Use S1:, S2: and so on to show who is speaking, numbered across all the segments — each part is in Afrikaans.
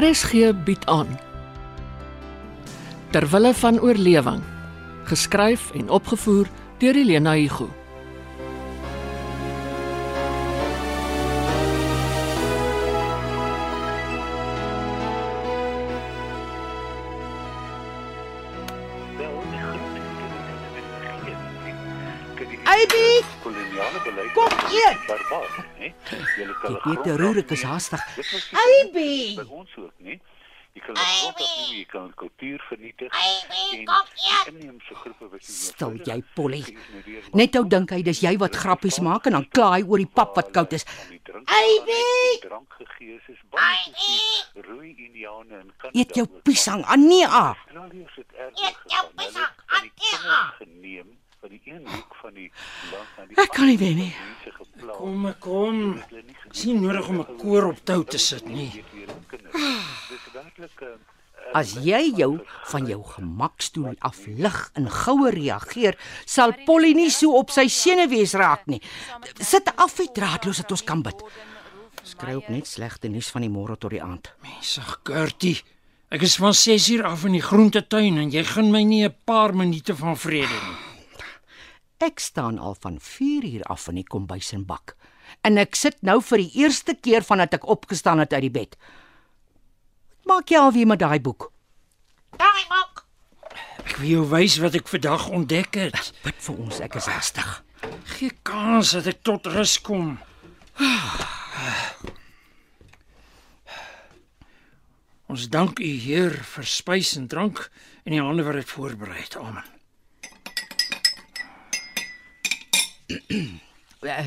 S1: RSG bied aan Terwille van oorlewing geskryf en opgevoer deur Elena Igu
S2: Abby,
S3: koloniale beleid
S2: Kom
S3: was
S2: eet!
S3: barbaars, né? Julle kan
S4: Die Peter Roerik is haastig.
S2: Abby!
S3: By ons ook, né? Jy kan grond afneem, jy kan kultuur vernietig.
S5: Abby,
S3: en
S5: kom eet!
S3: die Inheemse groepe wat jy
S4: Stil jy, Polly. Net ou dink hy dis jy wat grappies maak en dan kla hy oor die pap wat koud is.
S2: Abby!
S3: Drank gegee is, is baie gesien. Rooi Indiane in Kanada.
S4: Eet jou piesang, Ania.
S3: Australiërs het
S5: Eet
S3: erger
S5: jou piesang, Antea.
S3: geneem van die een hoek van die land na die
S4: Ek kan nie wen nie.
S3: Mense geplaag.
S6: Kom, kom. Dis nie nodig om 'n koor op tou te sit nie. Ah.
S3: weet weer op kinders. Dis werklik ehm, 'n
S4: As jy jou van jou gemakstoel af lig en goue reageer, sal Polly nie so op sy senuwees raak nie. Sit af die draadloos dat ons kan bid. Skry ook net slegte nuus van die môre tot die aand.
S6: Sag, Gertie. Ek is van 6 uur af in die groentetuin en jy gun my nie 'n paar minute van vrede nie.
S4: Ek staan al van 4 uur af in die kombuis en bak. En ek sit nou vir die eerste keer vandat ek opgestaan het uit die bed. Wat maak jy alweer met daai boek?
S5: Daai maak.
S6: Ek wil jou wys wat ek vandag ontdek het.
S4: Bid vir ons, ek is haastig.
S6: Gee kans dat ek tot rus kom. Ons dank U Heer vir spys en drank en die hande wat dit voorberei het. Amen.
S4: Eh,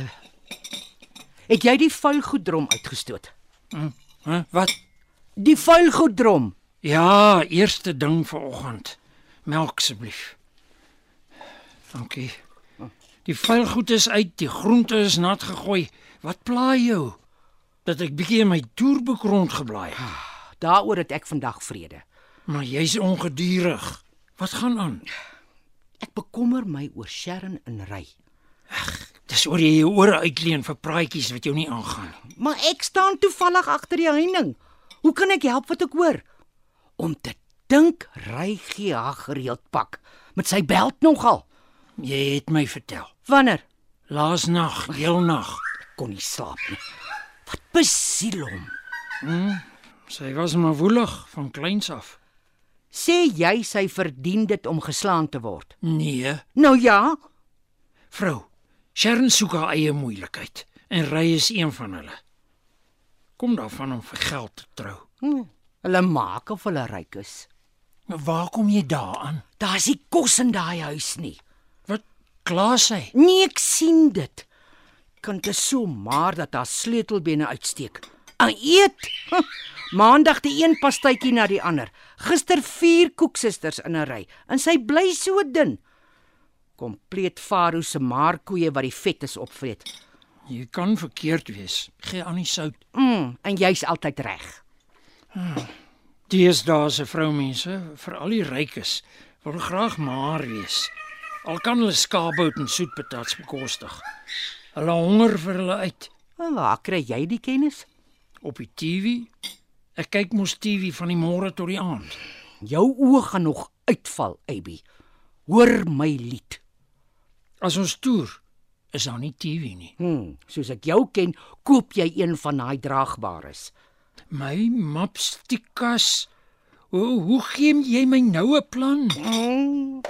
S4: Het jy die vuil goedrom uitgestoot?
S6: Hæ? Huh? Wat?
S4: Die vuil goedrom.
S6: Ja, eerste ding vanoggend. Melk asseblief. Dankie. Die vuil goed is uit, die groente is nat gegooi. Wat pla jou? Dat ek bietjie in my toerboek rondgeblaai het.
S4: Daaroor het ek vandag vrede.
S6: Maar jy's ongedurig. Wat gaan aan?
S4: Ek bekommer my oor Sherrin en Ry.
S6: Dis oor jy jou ore uitleen vir praatjies wat jou nie aangaan nie.
S4: Maar ek staan toevallig agter die heining. Hoe kan ek help wat ek hoor? Om te dink Ry gee haar gereeld pak met sy beld nogal.
S6: Jy het my vertel.
S4: Wanneer
S6: Laas nag, heelnag.
S4: kon nie slaap nie. Wat besiel hom?
S6: Sy was maar woelig van kleins af.
S4: Sê jy sy verdien dit om geslaan te word?
S6: Nee,
S4: Nou ja,
S6: Vrou, Sharon soek haar eie moeilikheid en ry is een van hulle. Kom daarvan om vir geld te trou.
S4: hm, hulle maak of hulle ryk is.
S6: Maar waar kom jy daaraan?
S4: Daar's nie kos in daai huis nie.
S6: Wat kla sy?
S4: Nee, ek sien dit. Kind is so maar dat haar sleutelbene uitsteek. Aan eet. Huh, Maandag die een pastytjie na die ander. Gister vier koeksisters in 'n ry en sy bly so dun. Kompleet Faro se maarkoeie wat die vet is opvreet.
S6: Jy kan verkeerd wees. Gee aan die sout.
S4: Mm, en jy's altyd reg.
S6: Deesdae se vroumense, veral die rykes, wil graag maar wees. Al kan hulle skaapbout en soetpatats bekostig. Hulle honger vir hulle uit
S4: En waar kry jy die kennis?
S6: op die TV. Ek kyk mos TV van die môre tot die aand.
S4: Jou oë gaan nog uitval, Abby. Hoor my lied.
S6: As ons toer, is daar nie TV nie.
S4: Hm, soos ek jou ken, koop jy een van daai draagbares.
S6: My mapstikas. Hoe hoe gee jy my nou 'n plan?
S4: Mm.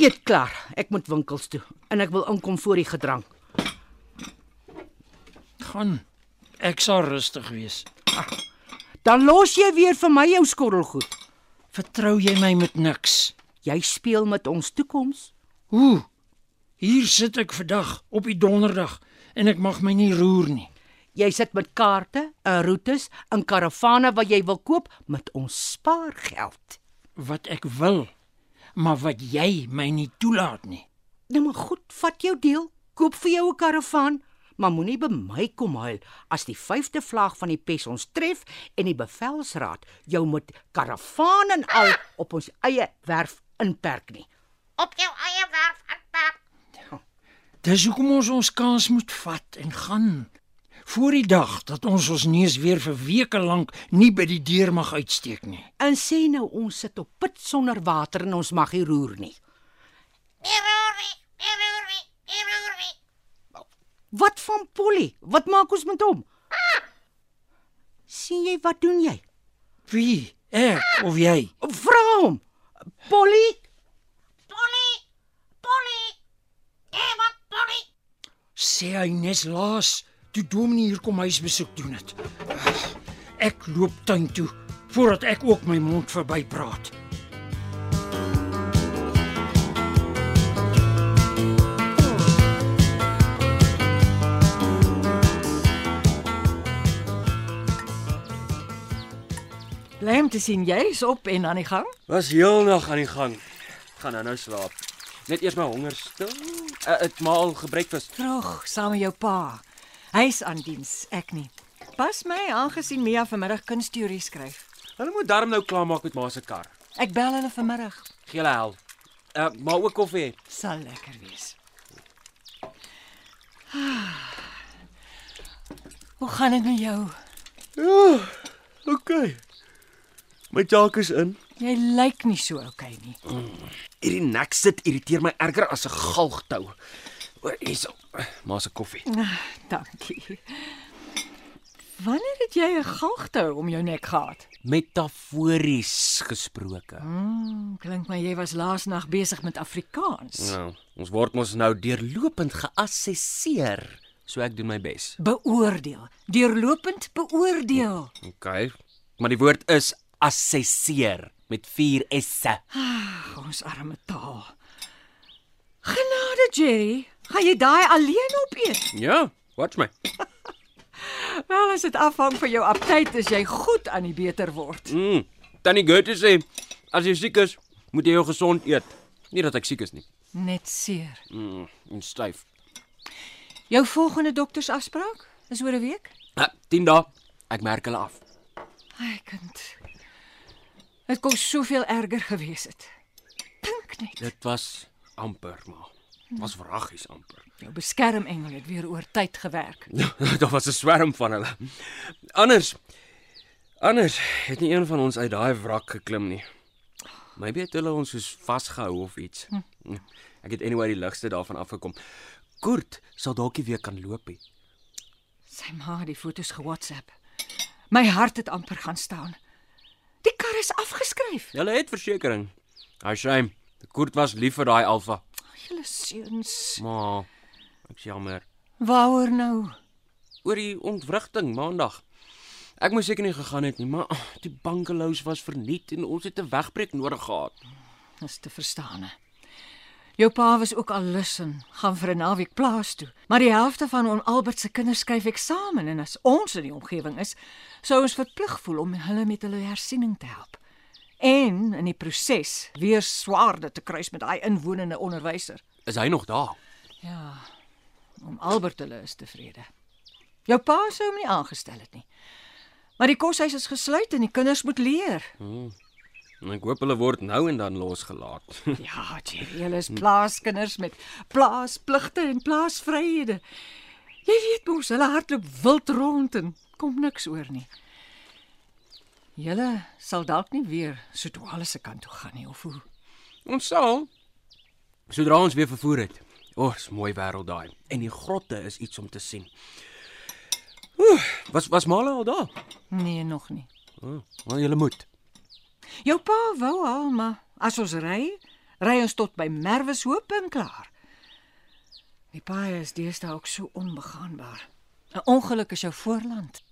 S4: Eet klaar. Ek moet winkels toe en ek wil inkom voor die gedrang.
S6: Gaan. Ek sal rustig wees.
S4: Dan los jy weer vir my jou skorrelgoed.
S6: Vertrou jy my met niks?
S4: Jy speel met ons toekoms.
S6: Hoe? Hier sit ek vandag op die donderdag en ek mag my nie roer nie.
S4: Jy sit met kaarte, en roetes, en karavane wat jy wil koop met ons spaargeld.
S6: Wat ek wil, maar wat jy my nie toelaat nie.
S4: Nou maar goed, vat jou deel. Koop vir jou 'n karavaan, maar moenie by my kom huil as die vyfde vlaag van die pes ons tref en die bevelsraad jou met karavaan en al op ons eie werf inperk nie.
S5: Op jou eie werf aanpak.
S6: Dis hoekom ons ons kans moet vat en gaan voor die dag dat ons ons neus weer vir weke lank nie by die deur mag uitsteek nie.
S4: En sê nou ons sit op put sonder water en ons mag nie roer nie.
S5: Errori, errori, errori.
S4: Wat van Polly? Wat maak ons met hom? sien jy wat doen jy?
S6: Wie? Ek of jy?
S4: Vra hom. Polly,
S5: Polly, Polly. Hey, wat Polly?
S6: Sê hy nes laas toe Dominee hier kom huisbesoek doen het. Ek loop tuin toe voordat ek ook my mond verby praat.
S7: Bly om te sien jy's op en aan die gang.
S8: Was heelnag aan die gang. Gaan nou nou slaap. Net eers my honger stil. Ek het maal gebreekfas.
S7: Vroeg saam met jou pa. Hy's aan diens, ek nie. Pas my aangesien Mia vanmiddag kunsteorie skryf.
S8: Hulle moet darm nou klaarmaak met ma se kar.
S7: Ek bel hulle vanmiddag.
S8: Gee hulle hel. Uh, maar ook koffie. hê.
S7: Sal lekker wees. Hoe gaan dit met jou?
S8: OK. My taak is in.
S7: Jy lyk nie so okay nie.
S8: Hierdie nek sit irriteer my erger as 'n galgtou. Oor hierso. Ma se koffie.
S7: Ah, dankie. Wanneer het jy 'n galgtou om jou nek gehad?
S8: Metafories gesproke.
S7: Hmm, klink my jy was laasnag besig met Afrikaans.
S8: Nou, ons word mos nou deurlopend geassesseer, so ek doen my bes.
S7: Beoordeel, deurlopend beoordeel.
S8: OK. Maar die woord is assesseer met 4 s'e.
S7: Ag, ons arme taal. Genade Jerry, gaan jy daai alleen opeet?
S8: Ja, watch my.
S7: Wel, as dit afhang van jou aptyt, is jy goed aan die beter word.
S8: Mm. Tannie Gertie sê as jy siek is, moet jy jou gesond eet. Nie dat ek siek is nie.
S7: Net seer.
S8: Mm, en styf.
S7: Jou volgende doktersafspraak is oor 'n week.
S8: Ha, 10 dae. Ek merk hulle af.
S7: Ai kind. Dit kon soveel erger gewees het. Dink net.
S8: Dit was amper maar. Was wraggies amper.
S7: Jou beskermengel het weer oor tyd gewerk.
S8: Daar was 'n swerm van hulle. Anders anders het nie een van ons uit daai wrak geklim nie. Maybe het hulle ons soos vasgehou of iets.
S7: Hm.
S8: Hm, Ek het anyway die ligste daarvan afgekom. Kurt sal dalk nie weer kan loop nie.
S7: Sy ma het die foto's ge-WhatsApp. My hart het amper gaan staan. Die kar is afgeskryf.
S8: Hulle het versekerings. Hy shame. Kurt was lief vir daai alfa.
S7: Julle seuns.
S8: Maar ek's jammer
S7: Waaroor nou?
S8: oor die ontwrigting maandag. Ek moes seker nie gegaan het nie, maar oh, die bankelous was verniet en ons het 'n wegbreek nodig gehad.
S7: Dis te verstaan. hè. Jou pa was ook al lus en gaan vir 'n naweek plaas toe, maar die helfte van on Albert se kinders skryf eksamen en as ons in die omgewing is, sou ons verplig voel om hulle met hulle hersiening te help. En in die proses weer swaarde te kruis met daai inwonende onderwyser.
S8: Is hy nog daar?
S7: Ja. Om Albert hulle is tevrede. Jou pa sou hom nie aangestel het nie. Maar die koshuis is gesluit en die kinders moet leer.
S8: En ek hoop hulle word nou en dan losgelaat.
S7: Ja, Jerry, hulle is plaaskinders met blaaspligte en plaasvryhede. Jy weet mos, hulle hardloop wild rond en kom niks oor nie. Julle sal dalk nie weer Sotwale se kant toe gaan nie of hoe.
S8: ons sal sodra ons weer vervoer het. O, oh, is mooi wêreld daai. En die grotte is iets om te sien. Oeh, was was Male al daar?
S7: Nee, nog nie.
S8: Oh, maar jy moet.
S7: Jou pa wou al, maar as ons ry, ry ons tot by Merweshoop en klaar. Die paai is deesdae ook so onbegaanbaar. 'n Ongeluk is jou voorland.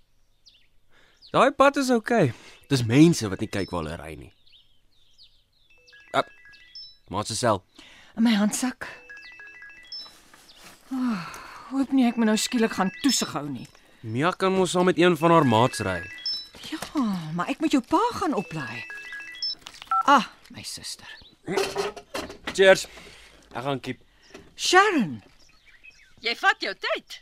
S8: Daai pad is oukei. Okay. Dis mense wat nie kyk waar hulle ry nie. Ah, maar se sel.
S7: in my handsak. Oh, hoop nie ek moet nou skielik gaan toesig hou nie.
S8: Mia kan mos saam met een van haar maats ry.
S7: Ja, maar ek moet jou pa gaan oplaai. Ah, my suster.
S8: Cheers. Ek gaan kiep.
S7: Sharon,
S9: Jy vat jou tyd.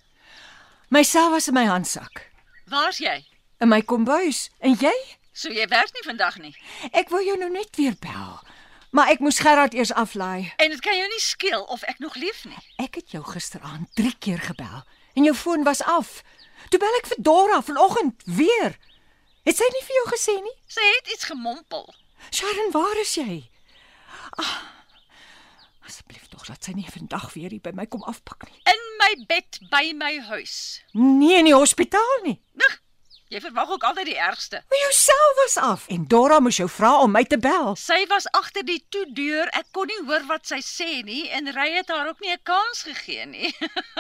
S7: my sel was in my handsak,
S9: Waar's jy?
S7: in my kombuis. En jy?
S9: So jy werk nie vandag nie.
S7: Ek wou jou nou net weer bel. Maar ek moes Gerard eers aflaai.
S9: En dit kan jou nie skeel of ek nog leef nie.
S7: Ek het jou gisteraand 3 keer gebel en jou foon was af.
S6: Toe bel ek vir Dora vanoggend weer. Het sy nie vir jou gesê nie?
S9: Sy het iets gemompel.
S6: Sharon, waar is jy? Ah, asseblief tog, laat sy nie vandag weer hier by my kom afpak nie.
S9: In my bed by my huis.
S6: Nee, in die hospitaal nie.
S9: Nig, jy verwag ook altyd die ergste.
S6: Maar jou sel was af en Dora moes jou vra om my te bel.
S9: Sy was agter die toedeur. Ek kon nie hoor wat sy sê nie en Ry het haar ook nie 'n kans gegee nie.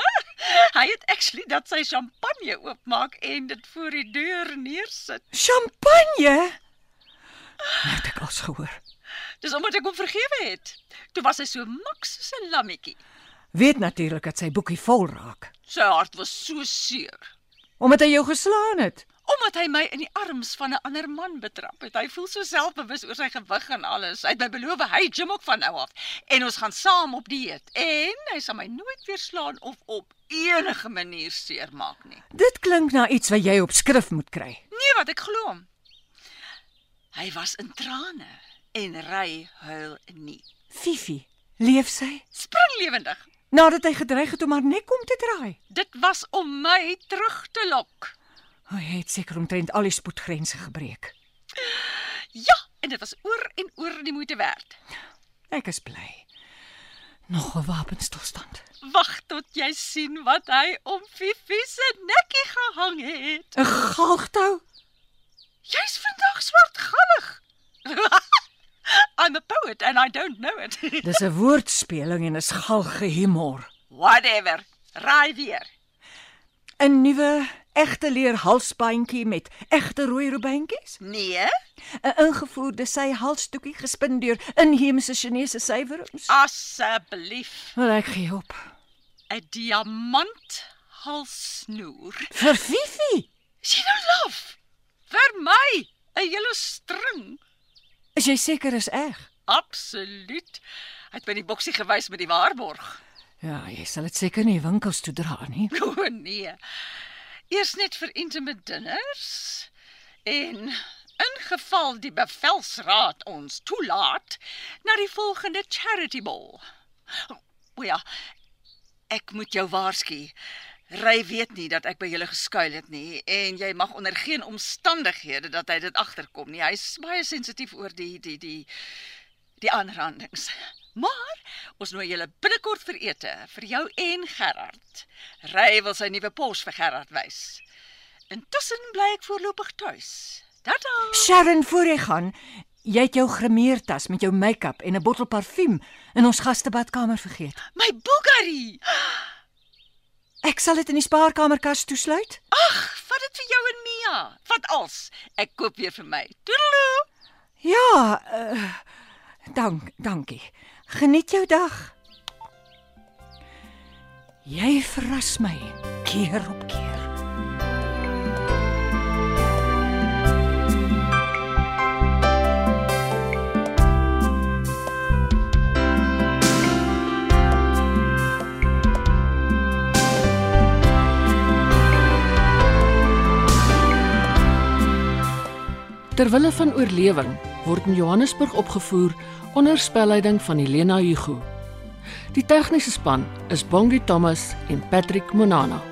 S9: Hy het actually dat sy champagne oopmaak en dit voor die deur neersit.
S6: Champagne? Nou Het ek als gehoor.
S9: Dis omdat ek hom vergewe het. Toe was hy so maks soos 'n lammetjie.
S6: Weet natuurlik dat sy boekie vol raak
S9: Sy hart was so seer
S6: omdat hy jou geslaan het.
S9: omdat hy my in die arms van 'n ander man betrap het. Hy voel so selfbewus oor sy gewig en alles. Hy het my beloof hy gym ook van nou af en ons gaan saam op dieet en hy sal my nooit weer slaan of op enige manier seermaak nie.
S6: Dit klink na iets wat jy op skrif moet kry.
S9: Nee, wat ek glo hom. Hy was in trane en ry huil nie.
S6: Fifi, leef sy?
S9: Spring lewendig.
S6: Nadat hy gedreig het om haar nek om te draai.
S9: Dit was om my terug te lok.
S6: Hy het seker omtrent al die spoedgrense gebreek.
S9: Ja, en dit was oor en oor die moeite werd.
S6: Ek is bly. Nog 'n wapenstilstand.
S9: Wag tot jy sien wat hy om Fifi se nekkie gehang het.
S6: 'n Galgtou.
S9: Jy's vandag swartgallig. I'm a poet and I don't know it.
S6: Dis 'n woordspeling en is galge humor.
S9: Whatever. Raai weer.
S6: 'n Nuwe egte leer halsbandjie met egte rooi rubantjies.
S9: Nee,
S6: 'n Ingevoerde sy halsdoekie gespin deur inheemse Chinese sywerings.
S9: asseblief.
S6: Wel ek gee op.
S9: 'n Diamant halssnoer.
S6: Vir Fifi.
S9: Sien nou laf. Vir my 'n hele string.
S6: Is jy seker is eg?
S9: Absoluut. Hy het by die boksie gewys met die waarborg.
S6: Ja, jy sal dit seker nie winkels toe dra nie.
S9: O oh, nee. Eers net vir intimate dinners en ingeval die bevelsraad ons toelaat na die volgende charity ball. O ja. Ek moet jou waarsku. Ry weet nie dat ek by julle geskuil het nie en jy mag onder geen omstandighede dat hy dit agterkom nie. Hy's baie sensitief oor die die die die aanrandings. Maar ons nooi julle binnekort vir ete vir jou en Gerard. Ry wil sy nuwe pos vir Gerard wys. Intussen bly ek voorlopig tuis. Tata.
S6: Sharon, voor jy gaan, jy het jou grimeertas met jou make-up en 'n bottel parfuum in ons gastebadkamer vergeet.
S9: My Bulgari.
S6: Ek sal dit in die spaarkamerkas toesluit.
S9: Ag, vat dit vir jou en Mia. Vat als. Ek koop weer vir my. Toedeloe.
S6: Ja, uh, dank, dankie. Geniet jou dag. Jy verras my keer op keer.
S7: Terwille van oorlewing word in Johannesburg opgevoer onder spelleiding van Helena Hugo. Die tegniese span is Bongi Thomas en Patrick Monana.